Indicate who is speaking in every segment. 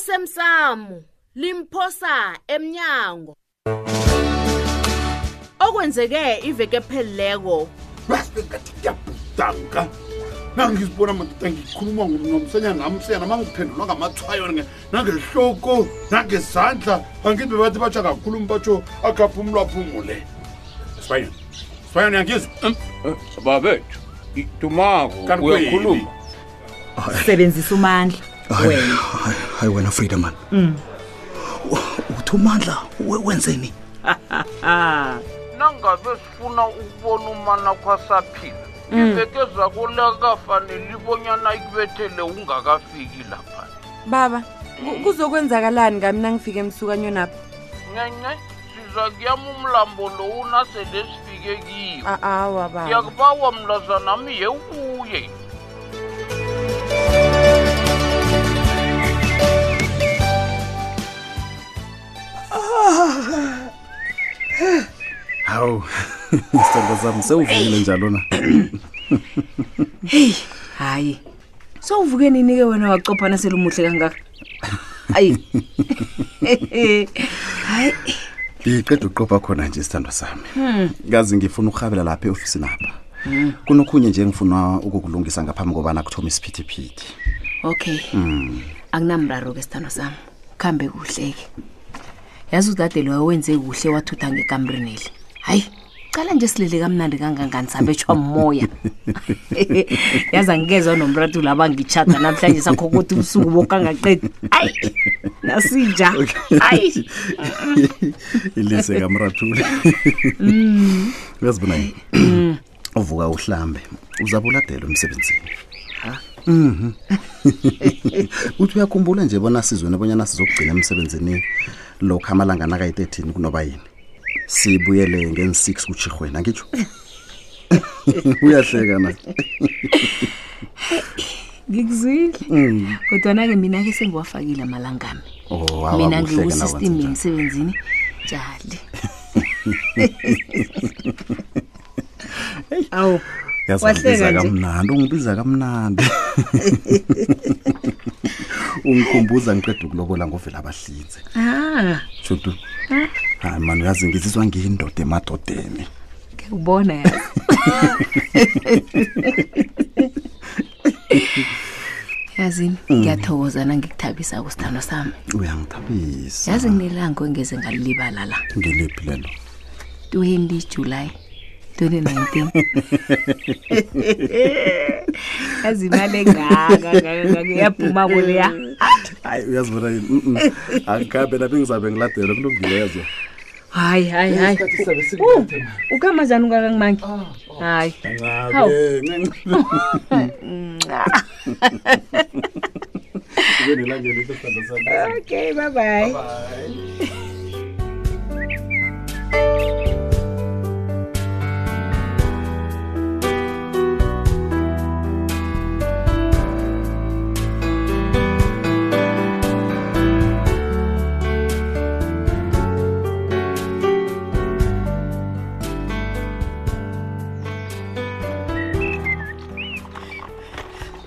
Speaker 1: lasemsamo limphosa emnyango okwenzeke iveke ephelileko
Speaker 2: ngathi ngiyabhudanga nangizibona madoda ngikhuluma nomsanyana namsanyana ma ngiphendulwa ngamathwayo nge- nangehloko nangezandla angithi bebathi batsha kakhulumi batsho akaphumulaphumule sibanyana sibanyana yangizwa
Speaker 3: Eh, babethu ngidumako
Speaker 2: Kanti kweli?
Speaker 3: uyakhuluma
Speaker 4: sebenzisa umandla
Speaker 5: hayi hayi, hayi wena frida man
Speaker 4: Mm.
Speaker 5: uthi umandla we- wenzeni
Speaker 6: nangabe sifuna ukubona umanakho asaphila iveke zakolakafanele ibonyana ikubethele ungakafiki lapha
Speaker 7: baba ku- kuzokwenzakalani ngamina ngifike emsukanyonapha
Speaker 6: ncenye siza kuyama umlambo lowu nasele sifike kiyo
Speaker 7: A- awa baba
Speaker 6: ngiyakubawa mlazanami yewuye
Speaker 5: hawu isitando sami sewuvukile njalo na
Speaker 4: hayi sowuvuke nini-ke wena wacophana selumuhle kangaka ayi hayi Hmm.
Speaker 5: ngiqeda uqopha khona nje isithando sami kazi ngifuna ukurhabela lapha eofisini apha kunokhunye nje engifuna ukukulungisa ngaphambi kobana kuthoma isiphithiphithi
Speaker 4: okay akunamraro-ke sithando sami kuhambe kuhle-ke yazi udade loyo wenze kuhle wathutha ngekamprineli hayi cala nje silele kamnandi kangangani sabetshwa moya yazi angikezwa nomratulo abangitshada namhlanje sakho kothi ubusuku bokangaqedi hayi nasinja hayi
Speaker 5: ilise kamrathule uyazibona yini uvuka uhlambe uzabuladela emsebenzini Mhm. uthi uyakhumbula nje bona sizweni bonyana sizokugcina emsebenzini lokhu amalanga nakayi-13 kunoba yini sibuyele ngen-6 kutshirhweni angitsho uyahleka na
Speaker 4: ngikuzwile
Speaker 5: Mm.
Speaker 4: kodwana-ke mina-ke sengiwafakile amalangami
Speaker 5: Oh, awa,
Speaker 4: mina
Speaker 5: kuhle-ke
Speaker 4: ngikusystemin
Speaker 5: nawenza njalo.
Speaker 4: emsebenzini jali awu
Speaker 5: yazangibiza
Speaker 4: Wahleka nje.
Speaker 5: kamnandi ungibiza kamnandi ungikhumbuza ngiqeda ukulobola ngovela abahlinze
Speaker 4: Ah,
Speaker 5: shutu hayi mani uyazi ngizizwa ngiyindoda emadodeni
Speaker 4: ngiyakubona yazi
Speaker 5: Mm.
Speaker 4: yazini ngiyathokoza nangikuthabisa kusithando sami
Speaker 5: uyangithabisa
Speaker 4: yazi nginelango engeze ngalilibala la
Speaker 5: ngeliphi lelo
Speaker 4: 20 july 2019 yazi imali engakaayaphuma kuleya
Speaker 5: hayi uyazibona yini Mm, mm. akukhambe lapho engizabe ngiladela kulungilezwa
Speaker 4: hayi hayi hayi ukama Uh, njani ungakangimangi hayi Hawu. okay bye bye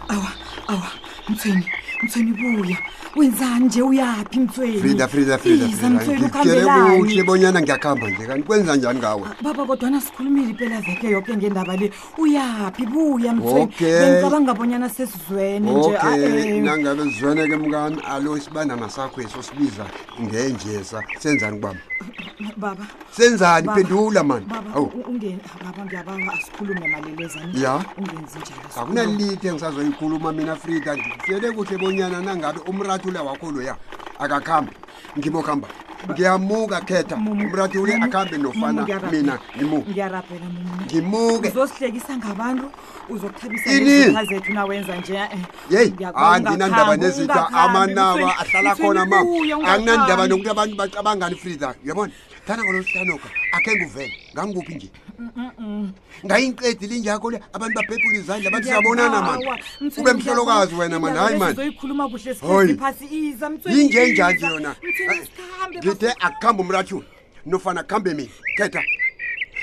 Speaker 8: awa awa mthweni mthweni buya wenzani nje uyaphi mthweni
Speaker 9: frida frida frida
Speaker 8: Iza,
Speaker 9: frida
Speaker 8: mthweni
Speaker 9: ngikutshele kuhle
Speaker 8: ukuhambelani
Speaker 9: bonyana ngiyakuhamba nje kanti kwenza njani ngawe
Speaker 8: baba kodwana sikhulumile impela veke yoke ngendaba le uyaphi buya mthweni
Speaker 9: Okay.
Speaker 8: bengicabanga bonyana sesizwene nje
Speaker 9: okay
Speaker 8: ah-eh.
Speaker 9: nangabe zizweneke mkami alo isibandana sakho eso sibiza ngenjesa senzani kubaba
Speaker 8: baba
Speaker 9: senzani
Speaker 8: Baba.
Speaker 9: phendula mani
Speaker 8: baba
Speaker 9: awu
Speaker 8: u- ungeni baba ngiyabawa asikhulume malelezani
Speaker 9: Ya.
Speaker 8: ungenzi njalo sikhulume.
Speaker 9: akunalilithe engisazoyikhuluma mina frida ngikutshele kuhle bonyana nangabe umratule wakho loya akakhambi ngimokuhamba ngiyamuka khetha
Speaker 8: Mumu,
Speaker 9: umratule
Speaker 8: mumu,
Speaker 9: akhambe
Speaker 8: mumu,
Speaker 9: nofana
Speaker 8: ngiyarabhela.
Speaker 9: mina ngimuke
Speaker 8: ngiyarabhela mumu
Speaker 9: ngimuke
Speaker 8: uzosihlekisa ngabantu uzokuthabisa
Speaker 9: Ini?
Speaker 8: ngezitha zethu nawwenza nje eh.
Speaker 9: yeyi
Speaker 8: Ngiyakubona,
Speaker 9: andinandaba
Speaker 8: ungakhambi,
Speaker 9: nezinto
Speaker 8: ungakhambi,
Speaker 9: amanawa
Speaker 8: Mthweni.
Speaker 9: ahlala
Speaker 8: Mthweni,
Speaker 9: khona ma
Speaker 8: buya,
Speaker 9: anginandaba
Speaker 8: ungakhambi.
Speaker 9: nokuthi abantu bacabangani frida uyabona thana ngolosihlanoka akhe nguvele ngangikuphi nje ngayinqedi linjakho le abantu babhebhula izandla bathi siyabonana mani
Speaker 8: Ngiyabawa, Mthweni,
Speaker 9: ube mhlolokazi
Speaker 8: ngiyabawa.
Speaker 9: wena mani
Speaker 8: Indaba
Speaker 9: hayi mani
Speaker 8: lesizoyikhuluma kuhle
Speaker 9: Hoyi.
Speaker 8: sihlezi phasi iza Mthweni,
Speaker 9: yinjenjanje
Speaker 8: iza.
Speaker 9: yona
Speaker 8: Mthweni,
Speaker 9: Hayi,
Speaker 8: sikhambe,
Speaker 9: ngithe
Speaker 8: basi-
Speaker 9: akuhambe umrathula nofana kuhambe mina khetha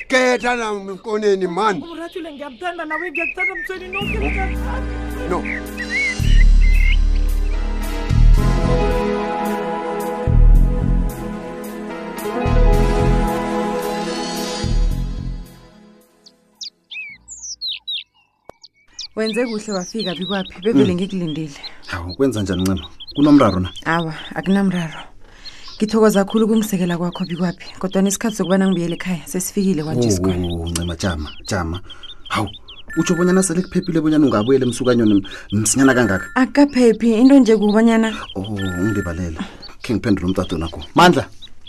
Speaker 9: khetha na mkoneni mani
Speaker 8: umratule ngiyamthanda nawe ngiyakuthanda mthweni nonke ngiyakuthanda.
Speaker 9: no
Speaker 7: wenze kuhle wafika bikwaphi bevele ngikulindile
Speaker 5: hawu kwenza njani ncema kunomraro na
Speaker 7: awa akunamraro ngithokoza kakhulu kumsekela kwakho bikwaphi kodwa nesikhathi sokubana ngibuyele ekhaya sesifikile kwanje sikhona
Speaker 5: Oh, ncema jama jama hawu utsho bonyana sele kuphephile bonyana ungabuyela emsukanyoni msinyana kangaka
Speaker 7: akukaphephi into nje kubanyana
Speaker 5: o oh, ungibalele khe ngiphendule umtato nakho mandla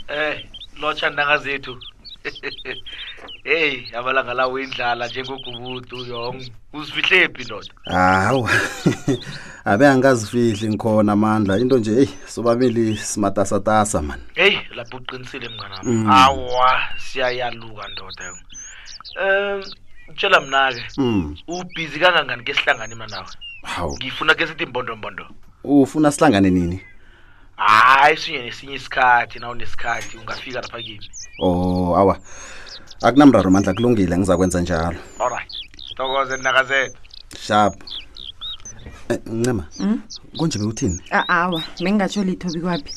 Speaker 10: Eh, lotsha ndanga zethu. Hey, amalanga lawo indlala njengogubudu yong. Usifihlephi ndoda.
Speaker 5: hawu abe angazifihli ngikhona mandla into nje eyi sobabili simatasatasa mani
Speaker 10: Hey, lapho uqinisile mnganami.
Speaker 5: Mm.
Speaker 10: Awa, siyayaluka ndoda. Eh, tshela mina ke.
Speaker 5: Mm.
Speaker 10: Ubhizi kangangani ke sihlangane mina nawe?
Speaker 5: hawu
Speaker 10: Ngifuna ke sithi imbondo mbondo.
Speaker 5: ufuna sihlangane nini
Speaker 10: Hayi, sinye nesinye isikhathi nawo nesikhathi ungafika lapha kimi.
Speaker 5: o oh, awa akunamraro mandla kulungile ngizakwenza njalo
Speaker 10: Alright. Thokoze ndakazethu.
Speaker 5: sharp Eh, ncema
Speaker 7: Mm?
Speaker 5: konje bewuthini
Speaker 7: A- awa bengingatsho litho bikwaphi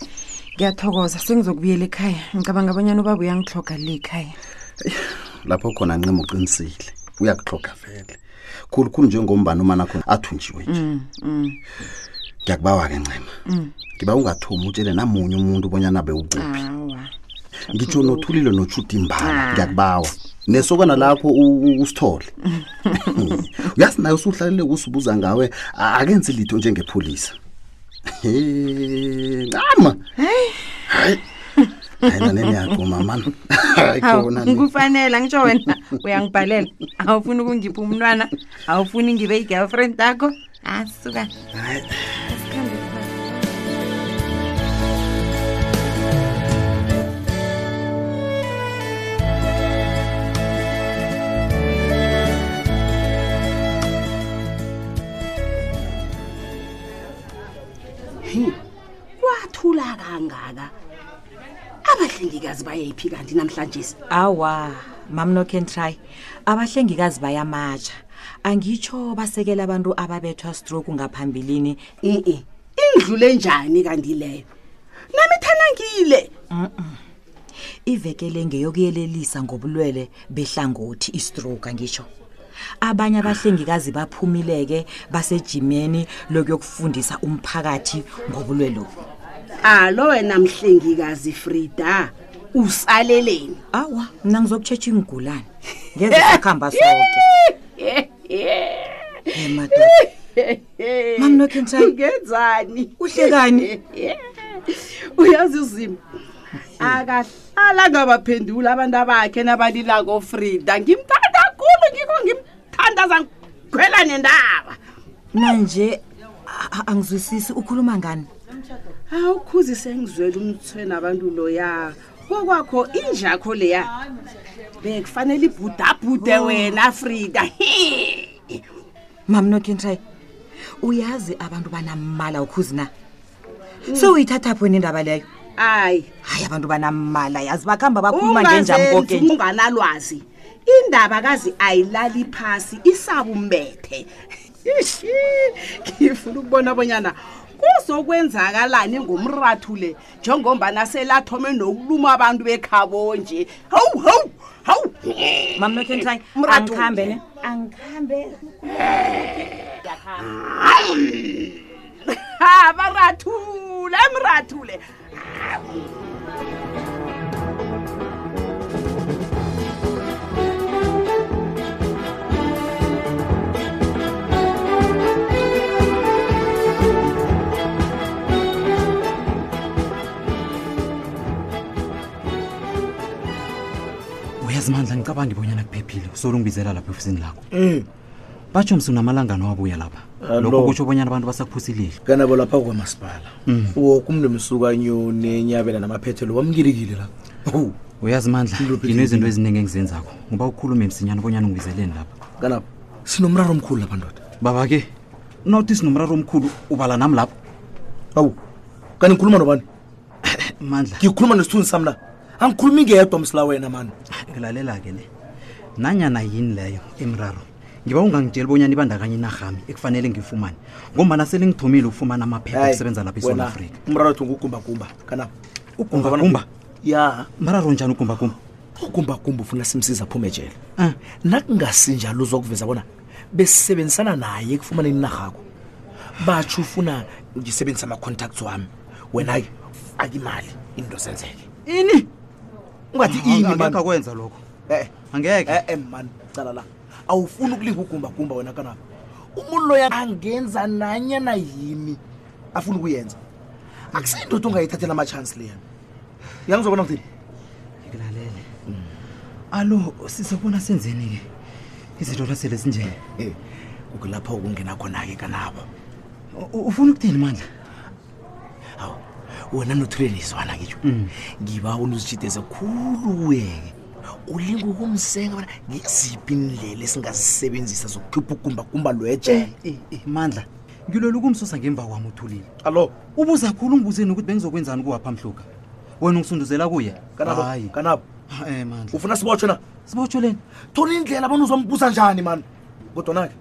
Speaker 7: ngiyathokoza sengizokubuyela ekhaya ngicabanga abanyana ubaba uyangihloga le ekhaya
Speaker 5: lapho khona ncema uqinisile uyakuxloga vele khulukhulu njengombani umanakho athunjiwe nje
Speaker 7: Mm, mm,
Speaker 5: ngiyakubawa ke ncema
Speaker 7: mm.
Speaker 5: ngiba ungathomi utshele namunye umuntu ubonyana bewucuphi
Speaker 7: awa
Speaker 5: ngitsho nothulile notshuda imbala
Speaker 7: Ah.
Speaker 5: ngiyakubawa nesokana lakho u- u- usithole uyazi naye usuhlalele kusibuza ngawe a- akenzi litho njengepholisa He, ncama hayi hayi naneni yakho mamana hayi
Speaker 7: hawu
Speaker 5: khona ni.
Speaker 7: ngikufanele angitsho wena uyangibhalela awufuni ukungipha umntwana awufuni ngibe Ah, i-girlfriend yakho asuka
Speaker 5: Hayi.
Speaker 7: asikhambe sihambe.
Speaker 11: kwathula kangaka abahlengikazi bayayiphi kanti namhlanje
Speaker 12: awa mam no can try abahlengikazi bayamatsha angitsho basekela abantu ababethwa stroke ngaphambilini
Speaker 11: i-e indlule njani kanti leyo nami thanangile
Speaker 12: ivekele ngeyokuyelelisa ngobulwele behlangothi istroke angitsho abanye abahlengikazi baphumileke basejimeni lokuyokufundisa umphakathi ngobulwelobu
Speaker 11: alo wena mhlengikazi frida usaleleni
Speaker 12: awa mna ngizokutshetsha ingulane ngeze sakuhamba soke emadoda
Speaker 11: mamnokhentangenzani
Speaker 12: uhlekani
Speaker 11: uyazi uzimo akahlala ngabaphendula abantu abakhe nabalilako frida ngimthanda kulu ngikho ngimthandaza ngikhwela nendaba
Speaker 12: nanje a- a- angizwisisi ukhuluma ngani
Speaker 11: awukhuzi sengizwela umthweni abantu loya kokwakho injakho leya bekufanele ibhudabhude
Speaker 12: Oh.
Speaker 11: wena frida
Speaker 12: mam nokentry uyazi abantu banamala ukhuzi na sewuyithatha phweni indaba leyo
Speaker 11: hayi
Speaker 12: hayi abantu banamala yazi bakuhamba bakhuluma ngenjami koke
Speaker 11: ungazenzi unganalwazi indaba kazi ayilali phasi isabumbethe Ishi, ngifuna ukubona bonyana kuzokwenzakalani ngomrathu le njengombana selathome nokuluma abantu bekhabo nje hawu hawu hawu
Speaker 12: mam nokentry
Speaker 11: Umrathu
Speaker 12: angikhambe ne
Speaker 11: nje.
Speaker 12: angikhambe
Speaker 11: ha barathule mrathule
Speaker 13: uyazi mandla ngicabangi bonyana kuphephile solungibizela lapha efisini lakho
Speaker 14: Eh,
Speaker 13: batsho msunamalangana wabuya lapha
Speaker 5: Ah,
Speaker 14: Alo.
Speaker 13: lokho kutsho bonyana abantu basakuphusilile
Speaker 14: kana bolapha kwamasipala
Speaker 13: Mm.
Speaker 14: woke umntu emsukanyoni enyabela namaphethelo wamkilikile la Hawu,
Speaker 13: uyazi mandla nginezinto
Speaker 14: Philippi.
Speaker 13: eziningi engizenzakho ngoba ukhulume msinyana bonyana ungibizeleni lapha
Speaker 14: kanapha sinomraro omkhulu lapha ndoda
Speaker 13: baba ke nawuthi sinomraro omkhulu ubala nami lapho
Speaker 14: hawu kanti ngikhuluma nobani
Speaker 13: mandla
Speaker 14: ngikhuluma nesithunzi sami na angikhulumi ngedwa msila wena mani
Speaker 13: ngilalela ke ne nanyana yini leyo imraro ngiba ungangitsheli bonyana ibandakanye inarhami ekufanele ngifumane ngombana sele ngithomile ukufumana amaphepha
Speaker 14: Hayi,
Speaker 13: okusebenza lapha esouth
Speaker 14: wena,
Speaker 13: africa
Speaker 14: umraro wethu ngugumbagumba kanapha
Speaker 13: Ugumbagumba?
Speaker 14: ya
Speaker 13: mraro njani ugumbagumba
Speaker 14: ugumbagumba ufuna simsiza aphume jele
Speaker 13: Ah.
Speaker 14: nakungasinjalo uzokuveza bona
Speaker 5: besisebenzisana naye ekufumaneni inarhakho batsho ufuna ngisebenzise ama-contacts wami wena-ke faka imali into zenzeke ini ungathi ini man.
Speaker 15: akwenza lokho
Speaker 5: Eh,
Speaker 15: angeke
Speaker 5: eh man cala la awufuni ukulinga ugumbagumba wena kanabo umuntu loya angenza nanyana yini afuna ukuyenza akuseyindoda ungayithathela amatshansi leya yangizobona kuthini
Speaker 15: ngikulalele
Speaker 5: Mm.
Speaker 15: alo sizobona senzeni-ke izinto lwasele zinjeni
Speaker 5: kulapho Eh, ukungena khona-ke kanabo
Speaker 15: ufuna ukuthini mandla
Speaker 5: wena nothulelizwana ngitsho
Speaker 15: Mm.
Speaker 5: ngiba wona uzitshideze khulu uyeke ulinga ukumsenga bona ngiziphi indlela esingazisebenzisa zokukhipha ugumbagumba
Speaker 15: Eh,
Speaker 5: lwejele
Speaker 15: mandla ngilwela ukumsusa ngemva kwami uthulile
Speaker 5: allo
Speaker 15: ubuza khulu ungibuzeni ukuthi bengizokwenzani kuwapha mhluka wena ungisunduzela kuye
Speaker 5: Kanabo, kanabo
Speaker 15: um mandla
Speaker 5: ufuna sibotshwe na
Speaker 15: sibotshwe leni
Speaker 5: thona indlela bona uzombuza njani mani kodwana-ke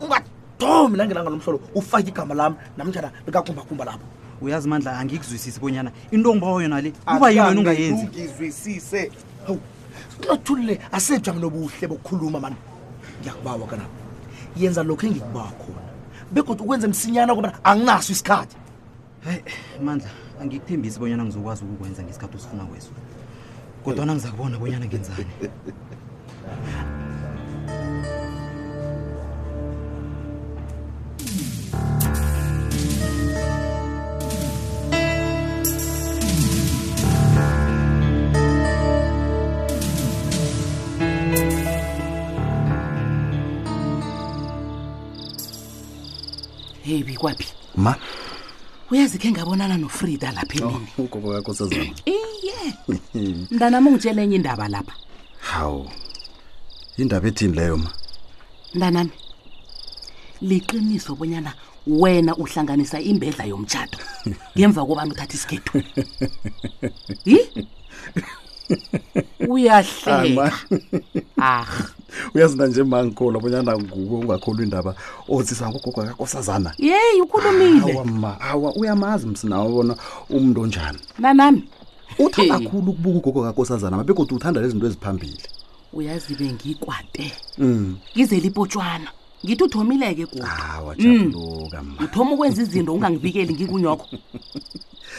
Speaker 5: ungathomi nangelanga lomhlolo ufake igama lami namnjana likagumbagumba lapho
Speaker 15: uyazi mandla angikuzwisisi bonyana into ongibawa yona le kuba yini wena ungayenzi
Speaker 5: ungizwisise hawu nothulule asejami nobuhle bokukhuluma mani ngiyakubawa kanabo yenza lokho engikubawa khona begodwa ukwenza msinyana kobana anginaso isikhathi
Speaker 15: hayi mandla angikuthembisi bonyana ngizokwazi ukukwenza ngesikhathi usifuna kweso kodwana ngiza kubona bonyana ngenzani
Speaker 12: hebi kwaphi
Speaker 11: ma
Speaker 12: uyazi khe ngabonana nofrida lapha emini
Speaker 11: ugogo kakho sezama
Speaker 12: iye mntanami ungitshela enye indaba lapha
Speaker 11: hawu indaba ethini leyo ma
Speaker 12: mntanami liqiniso bonyana wena uhlanganisa imbedla yomtshato ngemva kobani uthatha isikhethu yi uyahleka ah
Speaker 11: uyazi nanje mangikholwa bonyana nguwe ungakholwa indaba othisa ngogogo kakosazana
Speaker 12: yeyi ukhulumile
Speaker 11: awa ma awa uyamazi msinawo bona umntu onjani
Speaker 12: nanami
Speaker 11: uthanda khulu ukubuka ugogo kakosazana ma begodwa uthanda lezinto eziphambili
Speaker 12: uyazi bengiyikwate
Speaker 11: um
Speaker 12: ngizela ipotshwana ngithi uthomile-ke
Speaker 5: Ah.
Speaker 11: kuawa
Speaker 12: jabuluka uthoma ukwenza izinto ungangibikeli ngikunyokho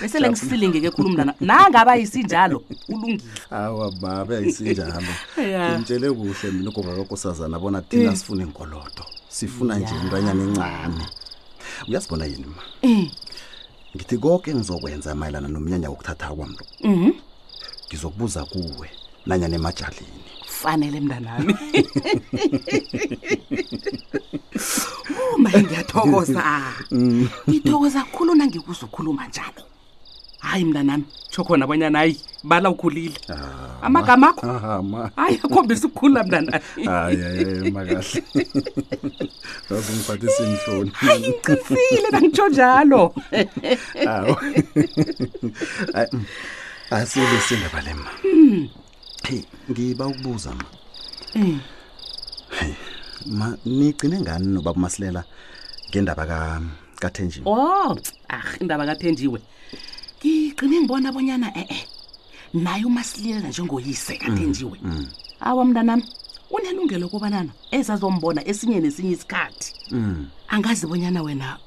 Speaker 12: bese le ngisilinge-ke khulu mntana nangaba yisinjalo ulungile
Speaker 11: awa babe ayisinjalo
Speaker 12: Ya.
Speaker 11: ngimtshele kuhle mina ugogo kakosazana bona thina
Speaker 12: Mm.
Speaker 11: sifuna inkoloto sifuna nje intwanyana encane uyazibona yini ma
Speaker 12: um
Speaker 11: ngithi konke engizokwenza mayelana nomnyanya wokuthatha kwamlo
Speaker 12: mhm
Speaker 11: ngizokubuza kuwe nanyana emajalini
Speaker 12: fanele mntanami umaye ngiyathokoza
Speaker 11: Mm.
Speaker 12: ngithokoza khulu nangikuzukhuluma njalo hayi mntanami tsho khona bonyana hayi bala ukhulile amagama akho hayi akhombisa ukukhula mntanami
Speaker 11: ayayemakahle azongiphathisa inhloni
Speaker 12: ngiqinisile nangitsho njalo
Speaker 11: awu Ay, mm. asile sindaba le ma
Speaker 12: Mm,
Speaker 11: hey ngiba ukubuza ma
Speaker 12: mm.
Speaker 11: ma nigcine ngani nobaba masilela ngendaba ka kathenjini
Speaker 12: o ah indaba kathenjiwe ngiqine ngibona bonyana e-e naye umasilela njengoyise kathenjiwe
Speaker 11: Mm,
Speaker 12: awa mntanami unelungelo kobanana ezazombona esinye nesinye isikhathi
Speaker 11: mm.
Speaker 12: angazi bonyana wena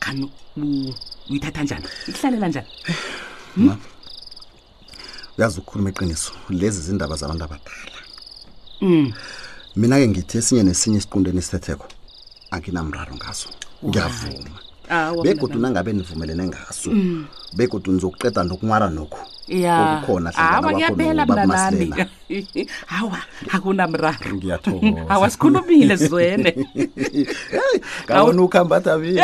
Speaker 12: khani u- uyithatha njani ikuhlalela njani
Speaker 11: uyazi ukukhuluma iqiniso lezi zindaba zabantu abadala
Speaker 12: Mm.
Speaker 11: mina-ke ngithi esinye nesinye isiqundeni esithetheko anginamraro ngaso ngiyavuma
Speaker 12: awa
Speaker 11: begodwa
Speaker 12: mntanami.
Speaker 11: nangabe nivumelene ngaso
Speaker 12: Ah, Mm.
Speaker 11: begodwa nizokuqeda nokunwara nokhu
Speaker 12: ya
Speaker 11: okukhona hlangana
Speaker 12: awa
Speaker 11: kwakho
Speaker 12: ngiyaphela
Speaker 11: nobaba
Speaker 12: mntanami
Speaker 11: Masilela.
Speaker 12: awa akunamraro
Speaker 11: ngiyathokoza
Speaker 12: awa sikhulumile zwene
Speaker 11: kawona ukuhamba tabile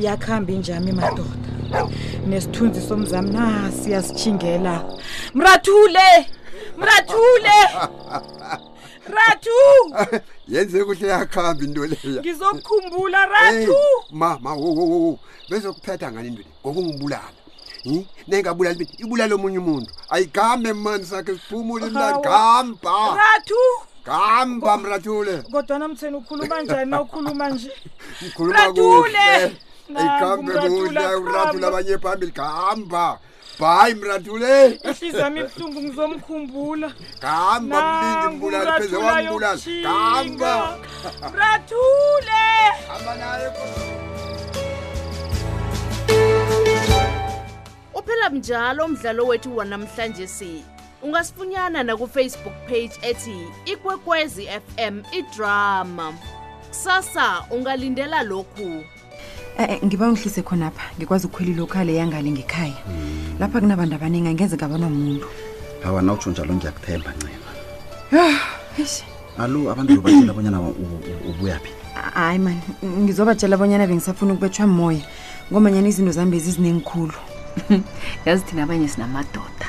Speaker 16: yakhambi njami madoda nesithunzi somzami nasiyasitshingela mrathule mrathule rathu
Speaker 9: yenze kuhle yakhambi into leya
Speaker 16: ngizokukhumbula rathu
Speaker 9: Hey, mama wo, wo, wo, wo. bezokuphetha ngani into le ngokungibulala Hmm? nengabulali mina ibulale omunye umuntu ayigambe mani sakhe siphumule mnani
Speaker 16: Hawa.
Speaker 9: gamba
Speaker 16: rathu
Speaker 9: Kamba mrathule.
Speaker 17: kodwana mtheni ukhuluma njani na ukhuluma nje
Speaker 9: Ukhuluma
Speaker 17: Mrathule!
Speaker 9: kuhle.
Speaker 17: Nangu
Speaker 9: Ikambe
Speaker 17: uMrathule
Speaker 9: kuhle
Speaker 17: akhamba.
Speaker 9: urathula abanye phambili kamba. Bhayi mrathule.
Speaker 17: ihliziyo yami ibuhlungu ngizomkhumbula
Speaker 9: Kamba mlingi
Speaker 17: Nangu
Speaker 9: mbulali pheze
Speaker 17: uMrathule
Speaker 9: wambulali.
Speaker 17: ayokutjhinga.
Speaker 9: Kamba.
Speaker 17: mrathule
Speaker 11: uphela mnjalo umdlalo wethu wanamhlanje si ungasifunyana nakufacebook page ethi ikwekwezi fm idrama kusasa ungalindela lokhu
Speaker 7: Eh, ngiba ungihlise khonapha ngikwazi ukukhwela ilokhale yangale ngekhaya lapha kunabantu abaningi angeze ngabona muntu
Speaker 5: hawa na utsho njalo ngiyakuthemba ncema
Speaker 12: Ah,
Speaker 7: eish
Speaker 5: alo abantu bebatshela bonyana u- u- ubuya phi
Speaker 7: hayi mani ngizobatshela abonyana bengisafuna ukubethwa moya ngomanyana izinto zambi ezizinengikhulu
Speaker 4: yazi thina abanye sinamadoda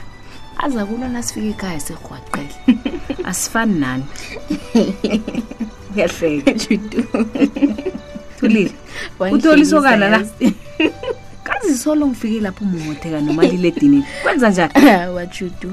Speaker 4: aza kulwa nasifika ekhaya sirhwaqele asifani nani uyahleka jutu thulile uthole isokana la kazi solo ngifike lapho umongotheka nomaliledinini kwenza njani wajutu